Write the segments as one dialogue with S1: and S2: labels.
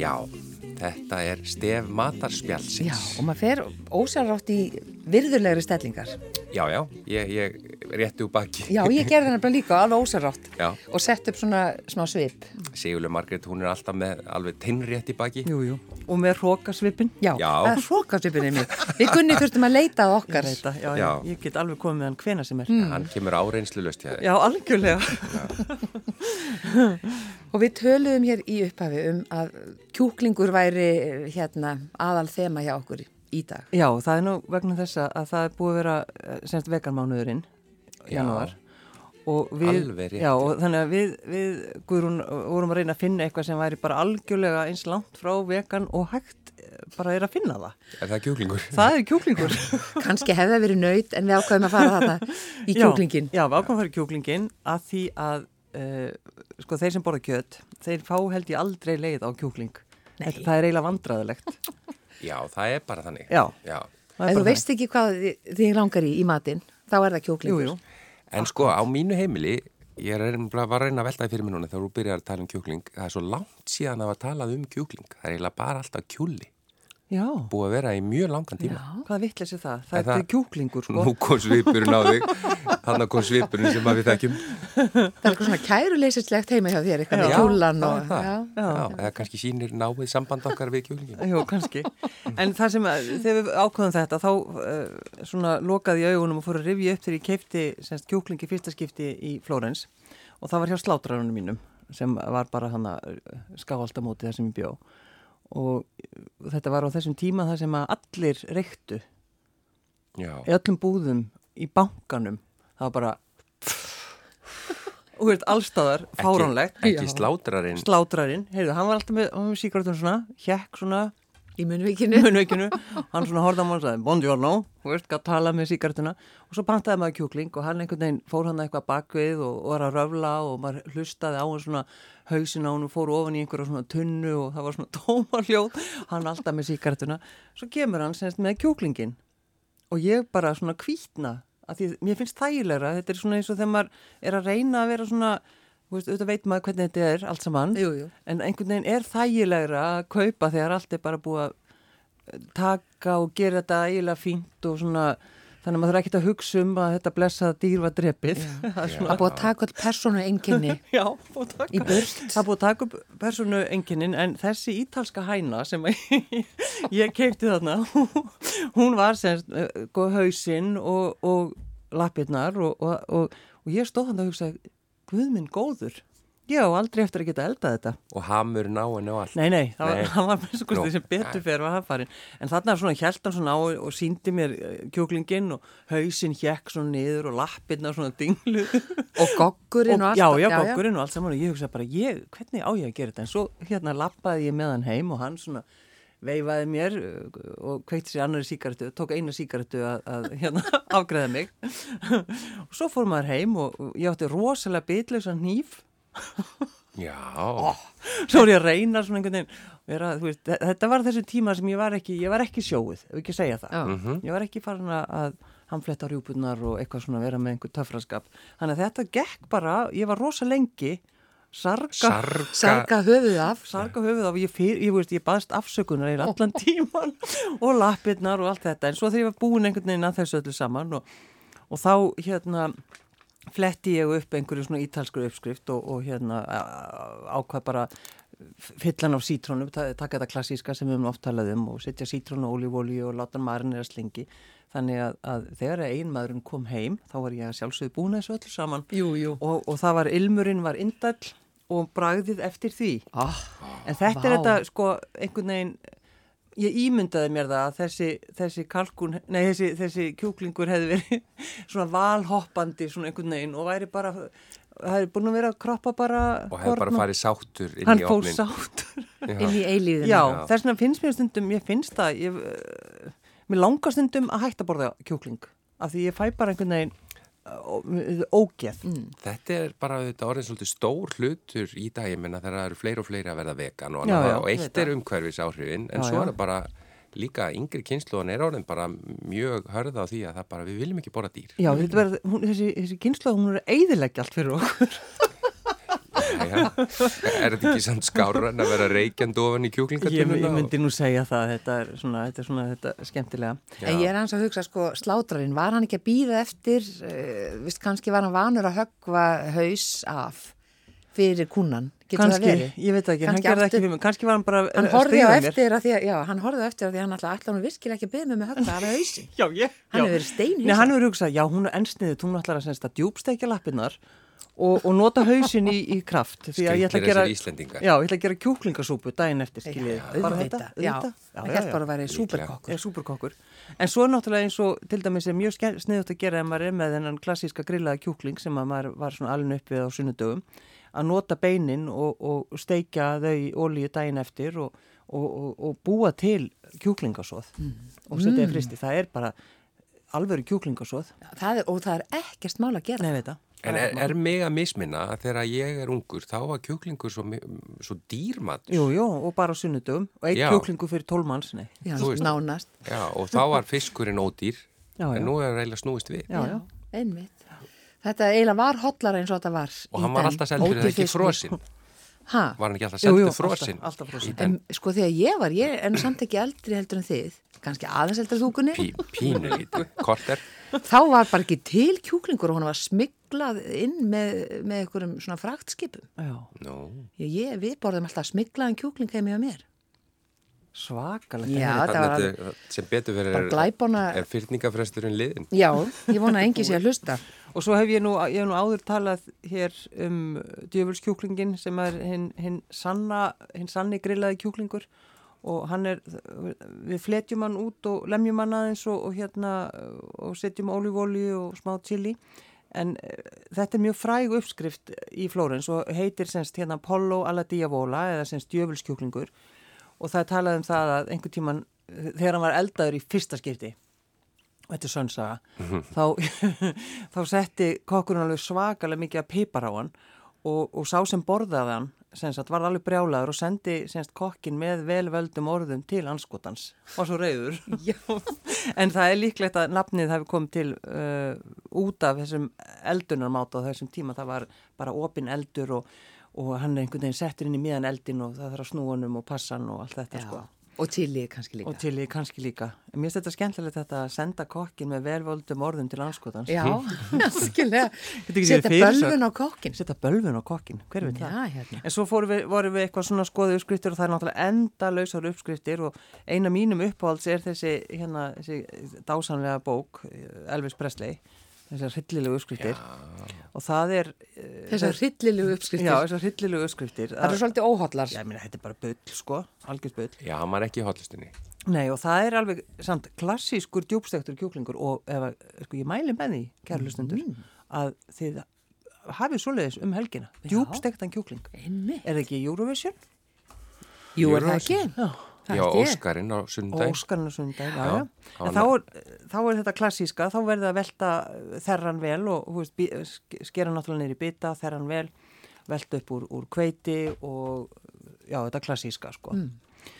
S1: Já, þetta er stef
S2: Já,
S1: matarspjálsins.
S2: og maður fer ósjálfrátt í virðulegri stellingar.
S1: Já, já, ég, ég rétti úr baki.
S2: Já, ég gerði hennar bara líka alveg ósjálfrátt
S1: Já.
S2: og sett upp svona smá svip.
S1: Sigurlega Margrét, hún er alltaf með alveg tinnrétt í baki.
S3: Jú, jú. Og með rókasvipin.
S2: Já,
S1: Já.
S2: það er hrókasvipin í mig. Við Gunni þurftum að leita að okkar.
S3: Þetta, já,
S1: Já.
S3: já. Ég get alveg komið með hann hvena sem er.
S1: Hann kemur áreynslu löst hjá þér.
S3: Já, algjörlega.
S2: Og við töluðum hér í upphafi um að kjúklingur væri eh, hérna aðal þema hjá okkur í dag.
S3: já, það er nú vegna þess að það er búið að vera eh, semst veganmánuðurinn,
S1: Já.
S3: janúar. Og við,
S1: Alveg rétt,
S3: já, og þannig að við, við Guðrún, eh, vorum að reyna að finna eitthvað sem væri bara algjörlega eins langt frá vegan og hægt eh, bara er að finna það.
S1: Er það kjúklingur?
S3: Það er kjúklingur.
S2: Kanski hefði það verið nöyt en við ákveðum að fara þarna í kjúklingin.
S3: Já, já við ákvæmum að fara í kjúklingin að því að uh, sko þeir sem borða kjöt, þeir fá held ég aldrei leið á kjúkling.
S2: Nei.
S3: Þetta, það er eiginlega vandræðilegt.
S1: Já, það er bara þannig.
S3: Já. Það
S2: Ef
S3: er
S2: þú
S3: bara
S2: veist ekki hvað þi- þig langar í í matinn, þá er það
S3: þannig. Jú,
S2: kjúklingur.
S3: jú.
S1: En sko, á mínu heimili, ég er einnig bara að reyna að veltaði fyrir mér núna þegar þú byrjar að tala um kjúkling. Það er svo langt síðan að var talað um kjúkling. Það er eiginlega bara alltaf kjúli.
S3: Já,
S1: Búið að vera í mjög langan tíma.
S3: hvað vittlis er það?
S1: Er
S3: Það
S1: það-
S3: er kjúklingur, sko.
S1: Nú kom svipurinn á þig. Þannig kom svipurinn sem að við þekkjum.
S2: Það er eitthvað svona kæruleysislegt heima hjá þér, eitthvað með
S1: Já,
S2: kjúlan
S1: það er
S2: og...
S1: það.
S2: Já.
S1: Já, eða kannski sínir náið samband okkar við kjúklingin.
S3: Jú, kannski. En það sem, að, þegar við ákvæðum þetta, þá uh, svona lokaði ég augunum og fór að rifja upp þegar ég keipti semst kjúklingi fyrsta skipti í Flórens og það var hjá slátrarunum mínum sem var bara hann að skáaldamóti þar sem ég bjó. Og eh, þetta var á þessum tíma þar sem að allir reyktu
S1: Já,
S3: í öllum búðum í bankanum. Það var bara, og þú veist, allstaðar, fáránlegt.
S1: ekki, ekki slátrarinn.
S3: Slátrarinn, heyrðu, hann var alltaf með, hann var með síkratum svona, hjekk svona,
S2: Í munvikinu.
S3: munveikinu, hann svona horfði á maður og sagði bondjórnó, þú veist, gætt tala með síkartuna og svo pantaði maður kjúkling og hann einhvern veginn fór hann eitthvað bakvið og, og var að röfla og maður hlustaði á hann svona hausin á hann og fór ofan í einhverja svona tunnu og það var svona tómarljóð hann alltaf með síkartuna svo kemur hann semst með kjúklingin og ég bara svona kvítna að því mér finnst þægilegra, þetta er svona eins og þegar maður er að reyna að vera svona þú veist, auðvitað veit maður hvernig þetta er allt saman
S2: Jú, jú.
S3: en einhvern veginn er þægilegra að kaupa þegar allt er bara búið að taka og gera þetta eiginlega fínt og svona þannig að maður þarf ekkert að hugsa um að þetta blessaða dýr var drepið það er svona
S2: Að búið að taka all persónu enginni
S3: Já, búið að taka-
S2: í burt.
S3: það er búið að taka upp personu enginin en þessi ítalska hæna sem að ég keipti þarna hún var semst eh, sko, hausinn og, og lappirnar og, og, og, og ég stóð þannig að hugsa Guðminn góður, ég á aldrei eftir að geta eldað þetta
S1: Og hamur náinn og allt.
S3: Nei, nei, það
S1: Nei.
S3: Var, hann var með svo
S1: Nú,
S3: kostið sem betur fyrir var hann farin. En þarna svona hjælt hann svona á og síndi mér eh, kjúklinginn og hausinn hjekk svona niður og lappirna svona dinglu.
S2: Og goggurinn og allt.
S3: já, já, gokkurinn og allt saman og ég hugsaði bara, ég, hvernig á ég að gera þetta? En svo hérna lappaði ég með hann heim og hann svona veifaði mér eh, og kveikti sér annari síkartu, tók eina síkartu að, að hérna afgreða mig. og svo fór maður heim og og ég átti rosalega bitlausa hníf
S1: Já,
S3: svo er ég að reyna svona einhvern veginn vera, þú veist, þe- þetta var þessu tíma sem ég var ekki ég var ekki sjóið, ef ekki að segja það
S2: Já.
S3: ég var ekki farin að- að hamfletta rjúpunar og eitthvað svona vera með einhver töfraskap þannig að þetta gekk bara, ég var rosa lengi sarga,
S1: sarga.
S2: Sarga höfuð af.
S3: sarga höfuð af, ég, fyr, ég, þú veist, ég baðst afsökunar í allan tíman og lappirnar og allt þetta en svo þegar ég var búin einhvern veginn að þessu öllu saman og, og þá hérna fletti ég upp einhverju svona ítalskur uppskrift og, og hérna á- ákvað bara fyllan af sítrónum, ta- taka þetta klassíska sem við höfum oft talað um og setja sítrónu og ólífólíu og láta marinn er að slingi þannig að, að þegar einmaðurinn kom heim þá var ég að sjálfsögðu búin að þessu öllu saman
S2: Jú, jú.
S3: og, og það var ilmurinn var indall og bragðið eftir því
S2: Ah,
S3: en þetta er
S2: Vá.
S3: þetta sko einhvern veginn ég ímyndaði mér það að þessi, þessi kalkun, nei þessi, þessi kjúklingur hefði verið svona valhoppandi svona einhvern veginn og væri bara það hefði búin að vera að kroppa bara
S1: Og hefði bara
S3: korn
S1: farið sáttur inn
S3: hann
S1: í
S3: fór
S1: opnin.
S3: sáttur
S2: inn í eilíðinu.
S3: já,
S1: Já.
S3: þess vegna finnst mér stundum, ég finnst það ég, eh, mér langar stundum að hætta að borða kjúkling af því ég fæ bara einhvern veginn ó- ógeð
S1: Mm. Þetta er bara þetta orðin svolítið stór hlutur í dag, ég menna þegar það eru fleiri og fleiri að verða vegan og,
S3: Já,
S1: annað.
S3: já,
S1: og eitt
S3: þetta.
S1: er umhverfis áhrifin en
S3: Já,
S1: svo
S3: já.
S1: er það bara líka yngri kynsluðan er orðin bara mjög hörða á því að það bara við viljum ekki borða dýr.
S3: Já, þetta verður, hún, þessi, þessi kynsla, hún er eiðilegja allt fyrir okkur.
S1: Jæja. er þetta ekki samt skárra en að vera reykjand ofan í
S3: Ég,
S1: kjúklingatununa?
S3: ég
S1: og-
S3: myndi nú segja það, þetta er svona, þetta er svona, þetta er skemmtilega.
S1: Já.
S2: En ég er hans að hugsa, sko, slátrarinn, var hann ekki að býða eftir, uh, vist kannski var hann vanur að höggva haus af fyrir kúnan, getur það
S3: Kanski,
S2: verið?
S3: ég veit það ekki,
S2: Kannski
S3: hann gerði
S2: aftur-
S3: ekki fyrir mig, kannski var hann bara
S2: Hann
S3: að
S2: horfði á
S3: stríða mér.
S2: eftir að því að, já, hann horfði á eftir að því að hann alltaf, alltaf hann virkilega ekki að byggja mig með höggva af hausin.
S3: Já, ég.
S2: Hann
S3: já.
S2: hefur verið steinhissa.
S3: Nei, hann hefur hugsað, já, hún er ensniðið, hún ætlar að senst að djúbstekja lappinnar og, og nota hausin í, í kraft. Því að ég ætla að
S1: Skrýtnir
S3: gera,
S1: þessir Íslendingar.
S3: Já, ég ætla að gera kjúklingasúpu daginn eftir, skiljið.
S2: auðvitað, já, hann held bara að vera
S3: Ég
S2: súperkokkur.
S3: er súperkokkur. En svo er náttúrulega eins og til dæmis er mjög ske- sniðugt að gera ef maður er með þennan klassíska grillaða kjúkling sem að maður var svona alveg uppið á sunnudögum að nota beinin og, og steikja þau í olíu daginn eftir og, og, og, og búa til kjúklingasóð og setja í fristi. Það er bara alvöru kjúklingasóð.
S2: Það er, og það er ekkert mál að gera.
S3: Nei, veit það.
S1: En er, er mig að misminna að þegar ég er ungur þá var kjúklingur svo, mi- svo dýrmatt
S3: Jú, jú, og bara á sunnudögum og eitt
S1: Já.
S3: kjúklingu fyrir tólmanns, nei.
S2: Já,
S1: Þú veist.
S2: nánast.
S1: Já, og þá var fiskurinn ódýr
S3: Já, já.
S1: en nú er það eiginlega snúist við.
S3: Já, já.
S2: Einmitt. Þetta eiginlega var hotlara eins og þetta var.
S1: Og
S2: í
S1: hann var
S2: den.
S1: alltaf seldur eða
S2: Ódýr
S1: ekki
S2: fiskur.
S1: frosinn.
S2: Ha?
S1: Var hann ekki alltaf
S3: Jú, jú,
S1: seldur
S3: alltaf-
S1: frosinn?
S3: alltaf frosinn.
S1: í den?
S2: En sko þegar ég var, ég en samt ekki eldri heldur en þið, kannski aðeins eldri en þú kunni,
S1: Pí, pínu lítið, korter
S2: þá var bara ekki til kjúklingur og hann var smiglað inn með, með einhverjum svona fraktskipum.
S3: Já,
S1: Nú,
S2: Ég, ég, við borðum alltaf smiglaðan kjúkling heim hjá mér.
S3: svakalegt.
S2: Já, þetta var alveg,
S1: þetta sem betur
S2: bara
S1: verið
S2: glæbona,
S1: er fyrningafresturinn liðin
S2: já, ég vona að engi sé að hlusta.
S3: Og svo hef ég nú, ég hef nú áður talað hér um djöfulskjúklingin sem er hinn hin sanna, hinn sanni grillaði kjúklingur og hann er, við fletjum hann út og lemjum hann aðeins og, og hérna og setjum ólífólju og smá chili en eh, þetta er mjög fræg uppskrift í Flórens og heitir semst hérna Pollo alla diavola eða semst djöfulskjúklingur og það er talað um það að einhvern tíman þegar hann var eldaður í fyrsta skipti og þetta er sönnsaga, þá, þá setti kokkurinn alveg svakalega mikið að pipar á hann og, og sá sem borðaði hann, sem sagt, var alveg brjálaður og sendi semst kokkin með velvöldum orðum til anskotans og svo reyður. en það er líklegt að nafnið hefði komið til uh, út af þessum eldunarmáta og þessum tíma það var bara opin eldur og, og hann er einhvern veginn settur inn í miðan eldin og það þarf að snúa honum og passa hann og allt þetta
S2: Já,
S3: sko.
S2: og chili kannski líka.
S3: Og til í kannski líka. En Mér finnst þetta skemmtilegt þetta að senda kokkin með velvöldum orðum til anskotans.
S2: Já, skilja,
S3: Þetta getur verið
S2: setja
S3: fyrirsögn.
S2: bölvun á kokkin.
S3: Setta bölvun á kokkin, hver veit
S2: Já,
S3: það?
S2: hérna.
S3: En svo fórum við, vorum við eitthvað svona skoðið uppskriftir og það er náttúrulega enda lausar uppskriftir og eina mínum uppáhalds er þessi, hérna, þessi dásanlega bók Elvis Presley, þessar hryllilegu uppskriftir. Og það er... eh,
S2: Þessar hryllilegu uppskriftir.
S3: Já, þessar hryllilegu uppskriftir.
S2: það eru svolítið óhóllar.
S3: Já, ég meina, þetta er bara bull, sko, algjörð bull.
S1: Já, maður er ekki í hotlistinni
S3: Nei og það er alveg samt klassískur djúbstektur kjúklingur og ef, að- sko, ég mæli með því, kæra hlustundur, að þið hafið svoleiðis um helgina, djúbstektan kjúkling.
S2: Einmitt.
S3: Er það ekki Eurovision?
S2: Jú, er það ekki? Það
S1: Já,
S2: held ég.
S1: Óskarinn á sundag
S3: Óskarna sundag, já,
S1: Já,
S3: já.
S1: á
S3: En þá er, þá er þetta klassíska, þá verður það að velta þerran vel og þú veist, bí- sk- skera náttúrulega niður í bita, þerran vel, velta upp úr, úr kveiti og já, þetta klassíska sko.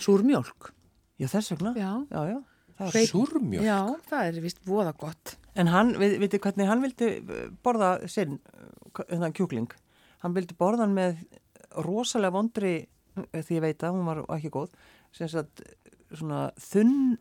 S2: Súrmjólk.
S3: Já, þess vegna.
S2: Já.
S3: já. já. Það er-
S1: Súrmjölk
S2: Já, það er vist voða gott.
S3: En hann, við, veitir hvernig hann vildi eh, borða sinn, hennan kjúkling, hann vildi borða hann með rosalega vondri, eh, því ég veit að hún var ekki góð, sem sagt eh, svona þunn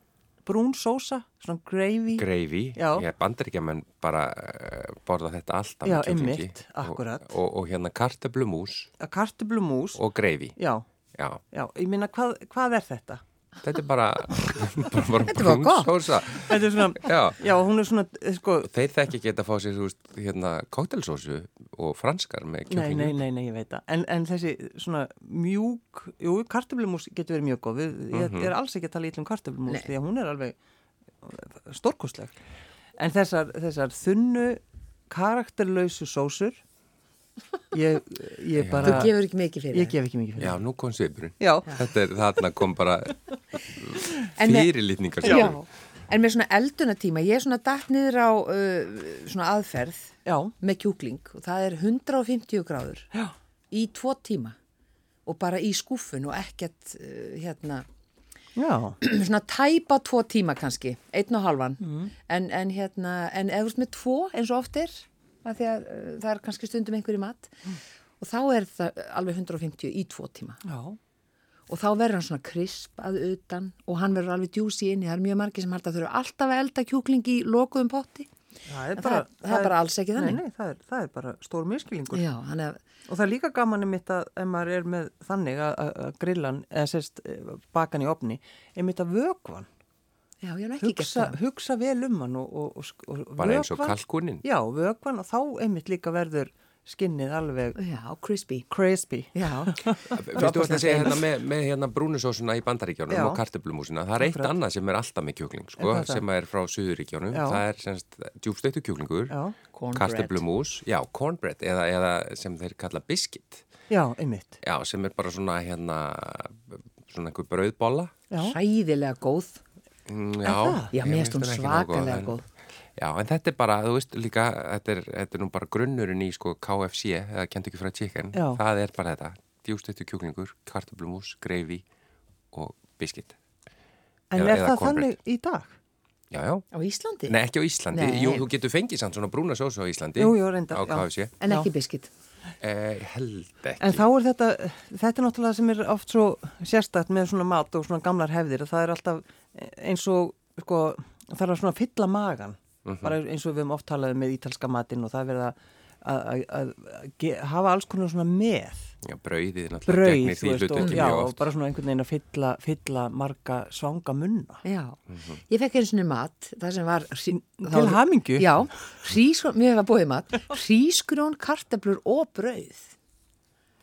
S3: brún sósa, svona gravy.
S1: Greifi,
S3: Já.
S1: ég bandar ekki að menn bara uh, borða þetta alltaf
S3: Já,
S1: með kjúklingi
S3: einmitt, akkurat.
S1: og, og, og hérna kartöblumús
S3: Kartublu mús,
S1: og greifi
S3: eh, já,
S1: Já,
S3: já, ég minna hvað, hvað er þetta?
S1: þetta er bara, bara, bara
S2: Þetta var gott.
S1: brúnsósa.
S3: Þetta er svona,
S1: Já,
S3: já, hún er svona, eh, sko,
S1: þeir þekki ekki að fá sér, þú veist, hérna kóktelsósu og franskar með
S3: Nei,
S1: kjúklingi
S3: nei, nei, nei, ég veit það. En, en þessi svona mjúk, jú, kartöflumús getur verið mjög góð. Við, Ég er alls ekki að tala ítlum kartöflumús
S2: Nei.
S3: því að hún er alveg uh, stórkostleg. En þessar, þessar þunnu, karakterlausu sósur, ég, ég
S2: Þú
S3: bara,
S2: gefur ekki mikið fyrir
S3: ég gef ekki mikið fyrir.
S1: Já, nú kom svipurinn.
S3: Já.
S1: Þetta er þarna kom bara
S2: En með-
S1: fyrirlitningar
S2: Já. En með svona eldunatíma, ég er svona dætt niður á uh, svona aðferð
S3: Já,
S2: með kjúkling og það er 150 gráður
S3: já,
S2: í tvo tíma og bara í skúfun og ekkert eh, hérna
S3: já,
S2: svona tæpa tvo tíma kannski einn og halvan
S3: Mm.
S2: en, en, hérna, en ef þú ert með tvo eins og oft er af því að uh, það er kannski stundum einhver í mat
S3: Mm.
S2: og þá er það alveg 150 í tvo tíma
S3: já,
S2: og þá verður hann svona krisp að utan og hann verður alveg djúsi inni það eru mjög margir sem halda að þau eru alltaf að elda kjúkling í lokuðum potti
S3: það
S2: En það- það er bara alls ekki þannig.
S3: Nei, nei, það er, það er bara stór miskilingur.
S2: já, hann er
S3: Og það er líka gaman einmitt að ef maður er með þannig að, að- að grillan, eða sérst eh, bakan í opni, einmitt að vökvan,
S2: já, ég er ekki gert
S3: hugsa,
S2: það
S3: hugsa vel um hann og, og, og, sk- og
S1: Bara eins og
S3: vökvann-
S1: kalkúninn.
S3: Já, vökvan og þá einmitt líka verður skinnið alveg
S2: já, crispy
S3: crispy.
S2: já,
S1: Vistu hvað það segja hérna með, með hérna brúnusósuna í bandaríkjánum
S3: Já.
S1: og kartöblumúsina, það er eitt
S3: Akkurat.
S1: annað sem er alltaf með kjúkling, sko,
S3: Er það það?
S1: sem er frá suðuríkjánum,
S3: Já.
S1: það er semst djúbstöktu kjúklingur,
S3: Já.
S2: Cornbread.
S1: kartöblumús, já, cornbread eða, eða sem þeir kalla biscuit,
S3: Já, einmitt.
S1: já, sem er bara svona hérna, svona einhver brauðbolla,
S3: Já,
S2: hræðilega góð
S1: Mm, Já,
S3: það?
S2: Já,
S1: ég
S2: mér
S1: finnst
S2: finnst hún
S1: hún ekki nógu
S2: svakalega
S1: en-
S2: góð.
S1: Já, en þetta er bara, þú veist líka, þetta er, þetta er nú bara grunnurinn í sko KFC, eða Kentucky Fried Chicken,
S3: Já.
S1: það er bara þetta, djústettu kjúklingur, kartablumús, greifi og biskitt.
S3: en
S1: eða-
S3: er
S1: eða
S3: það
S1: cornbread.
S3: þannig í dag?
S1: Já, já.
S2: á Íslandi
S1: Nei, ekki á Íslandi.
S2: Nei.
S1: Jú, þú getur fengið samt svona brúna sósu á Íslandi.
S3: Jú, jú, reyndar,
S1: Á
S3: já.
S1: KFC.
S2: en
S3: Já.
S2: ekki biskit
S1: Eh, held ekki.
S3: En þá er þetta, þetta er náttúrulega sem er oft svo sérstætt með svona mat og svona gamlar hefðir að það er alltaf eins og, sko, það er að svona fylla magan,
S1: Mhm.
S3: bara eins og við höfum oft talað um með ítalska matinn og það er verið að, að, að, að ge- hafa alls konar svona með
S1: Já, brauðið er náttúrulega
S3: brauð,
S1: gegnir því
S3: og,
S1: hlutverki
S3: já,
S1: mjög
S3: og
S1: oft.
S3: bara svona einhvern veginn að fylla, fylla marga svanga munna.
S2: Já,
S1: Mhm.
S2: ég fekk einu sinni mat, það sem var... hrí-
S3: Til
S2: þá-
S3: hamingju.
S2: Já, hrísgrón, mér hefur búið mat, hrísgrón, kartablur og brauð.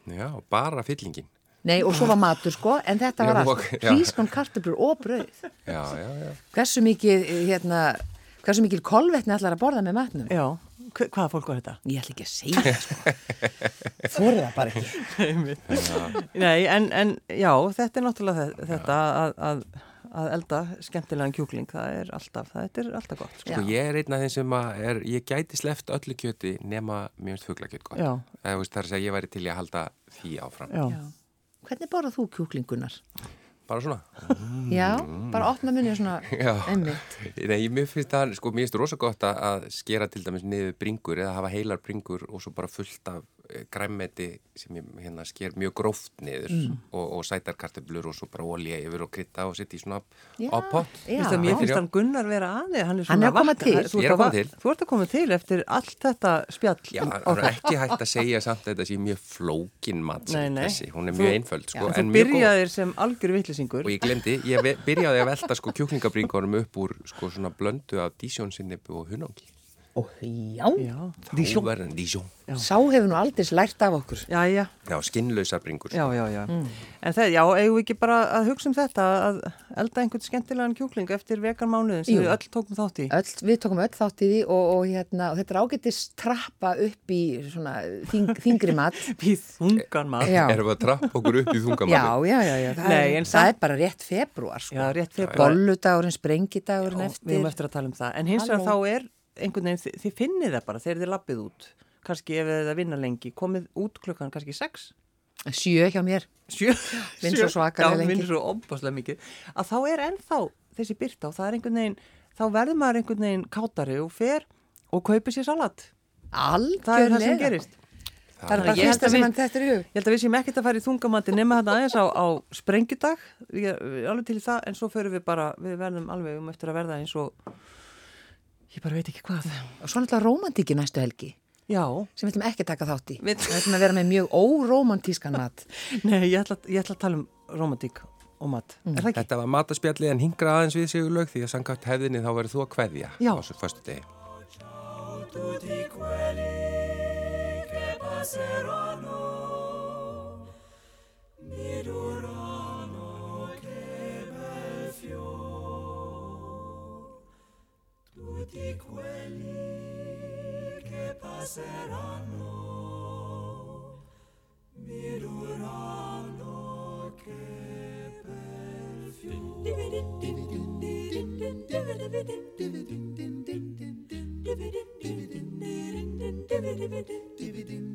S1: Já, bara fyllingin.
S2: Nei, og svo var matur sko, en þetta var
S1: Já,
S2: allt.
S1: ok, já.
S2: Hrísgrón, kartablur og brauð.
S1: Já, já, já.
S2: Hversu mikið, eh, hérna, hversu mikið kolvetni ætlar að borða með matnum?
S3: Já, hva- hvaða fólk var þetta?
S2: Ég ætla ekki að segja það sko. Þorði það bara ekki.
S3: Nei, en, en já, þetta er náttúrulega þe- þetta að, að, að elda skemmtilegan kjúkling, það er alltaf, þetta er alltaf gott. Sko.
S1: Sko, ég er einn af þeim sem að er, ég gæti sleft öllu kjöti nema mjög fuglakjöt gott.
S3: Já.
S1: Það, veist, það er að segja, ég væri til í að halda því áfram.
S3: Já.
S2: Já. Hvernig borðað þú kjúklingunar?
S1: Bara svona.
S2: Já, bara opna munni svona,
S1: Mm. Já.
S2: einmitt.
S1: Nei, ég- mér finnst það, sko, mér finnst rosa gott að- að skera til dæmis niður bringur eða hafa heilar bringur og svo bara fullt af eh, grænmeti sem ég hérna sker mjög gróft niður
S3: Mm.
S1: og, og sætarkartöflur og svo bara olja yfir og krytta og setja í svona
S2: Já,
S1: á pott.
S2: já.
S3: Veistu, mér finnst
S1: Já.
S3: hann Gunnar vera aðeins, hann
S2: Hann
S3: er svona
S2: er að koma
S3: vakna-
S2: til.
S3: þú ert
S1: Ég er að koma
S3: va-
S1: til.
S3: Þú ert að koma til eftir allt þetta spjall.
S1: Já, það er ekki hægt að segja samt að þetta sé mjög flókin mat
S3: Nei,
S1: sem
S3: nei.
S1: þessi. Hún er
S3: Þú-
S1: mjög einföld, sko,
S3: sko,
S1: en
S3: þú
S1: mjög góð.
S3: byrjaðir sem algjör vittlisingur.
S1: Og ég glemdi, ég ve- byrjaði að velta sko kjúklingabringunum upp úr sko svona blöndu af dísjónsinnipu og hunangi.
S2: Ó, já.
S3: Já,
S1: Dísjón? Óverðin dísjón.
S2: Sá hefur nú aldrei lært af okkur.
S3: já, já,
S1: Já, skinnlausar bringur.
S3: já, já. já.
S2: Mm.
S3: En það, já, eigum við ekki bara að hugsa um þetta, að elda einhvern skemmtilegan kjúkling eftir veganmánuðin sem
S2: Jú.
S3: við öll tókum þátt í.
S2: öll, við tókum öll þátt í því og, og, hérna, og þetta er ágættis trappa upp í svona þing, þingri mat.
S3: Við þungan maður.
S2: Já.
S1: Erum við að trappa okkur upp í þungamannu?
S2: já, já, já, já, það,
S3: Nei, en
S2: er,
S3: samt-
S2: það er bara rétt februar sko.
S3: Já, rétt februar.
S2: Bolludagurinn, sprengidagurinn
S3: Já, Við
S2: eftir.
S3: höfum eftir að tala um það. En hins vegar
S2: Halló.
S3: þá er einhvern veginn, þið, þið finnið það bara þegar þið lappið út. Kanski ef þið að vinna lengi, komið út klukkan kannski 6,
S2: Sjö hjá mér.
S3: sjö.
S2: Vinn
S3: sjö-
S2: svo svakalega
S3: Já,
S2: lengi.
S3: vinn svo ombáslega mikið. Að þá er ennþá þessi byrta og það er einhvern veginn, þá verður maður einhvern veginn kátari og fer og kaupir sér salat.
S2: Algjörlega.
S3: Það er það sem gerist.
S1: Það
S2: Það er
S1: er
S2: bara
S3: Ég held
S2: fyrsta
S3: að
S2: sem
S3: við-
S2: hann þetta er í hug.
S3: Ég held að við séum ekkert að fara í þungamandi nema þetta aðeins á, á sprengjudag, ég er alveg til í það, en svo förum við bara, við verðum alveg um eftir að verða eins og, ég bara veit ekki hvað.
S2: Og svo náttúrulega romantíki næstu helgi
S3: Já,
S2: sem við ætlum ekki að taka þátt í.
S3: Við-
S2: Við ætlum að vera með mjög óromantískan mat.
S3: Nei, ég ætla, ég ætla að tala um romantík og mat. Er það ekki?
S1: Þetta var mataspjallið en hingra aðeins við sigur lög því að sangat hefðinni þá verður þú að kveðja
S3: Já.
S1: á þessu föstu degi.
S4: tutti quelli che passeranno mi diranno che bel fior tutti quelli che passeranno mi diranno che bel fior Dividend, dividend, dividend, dividend, dividend, dividend, dividend, dividend, dividend, dividend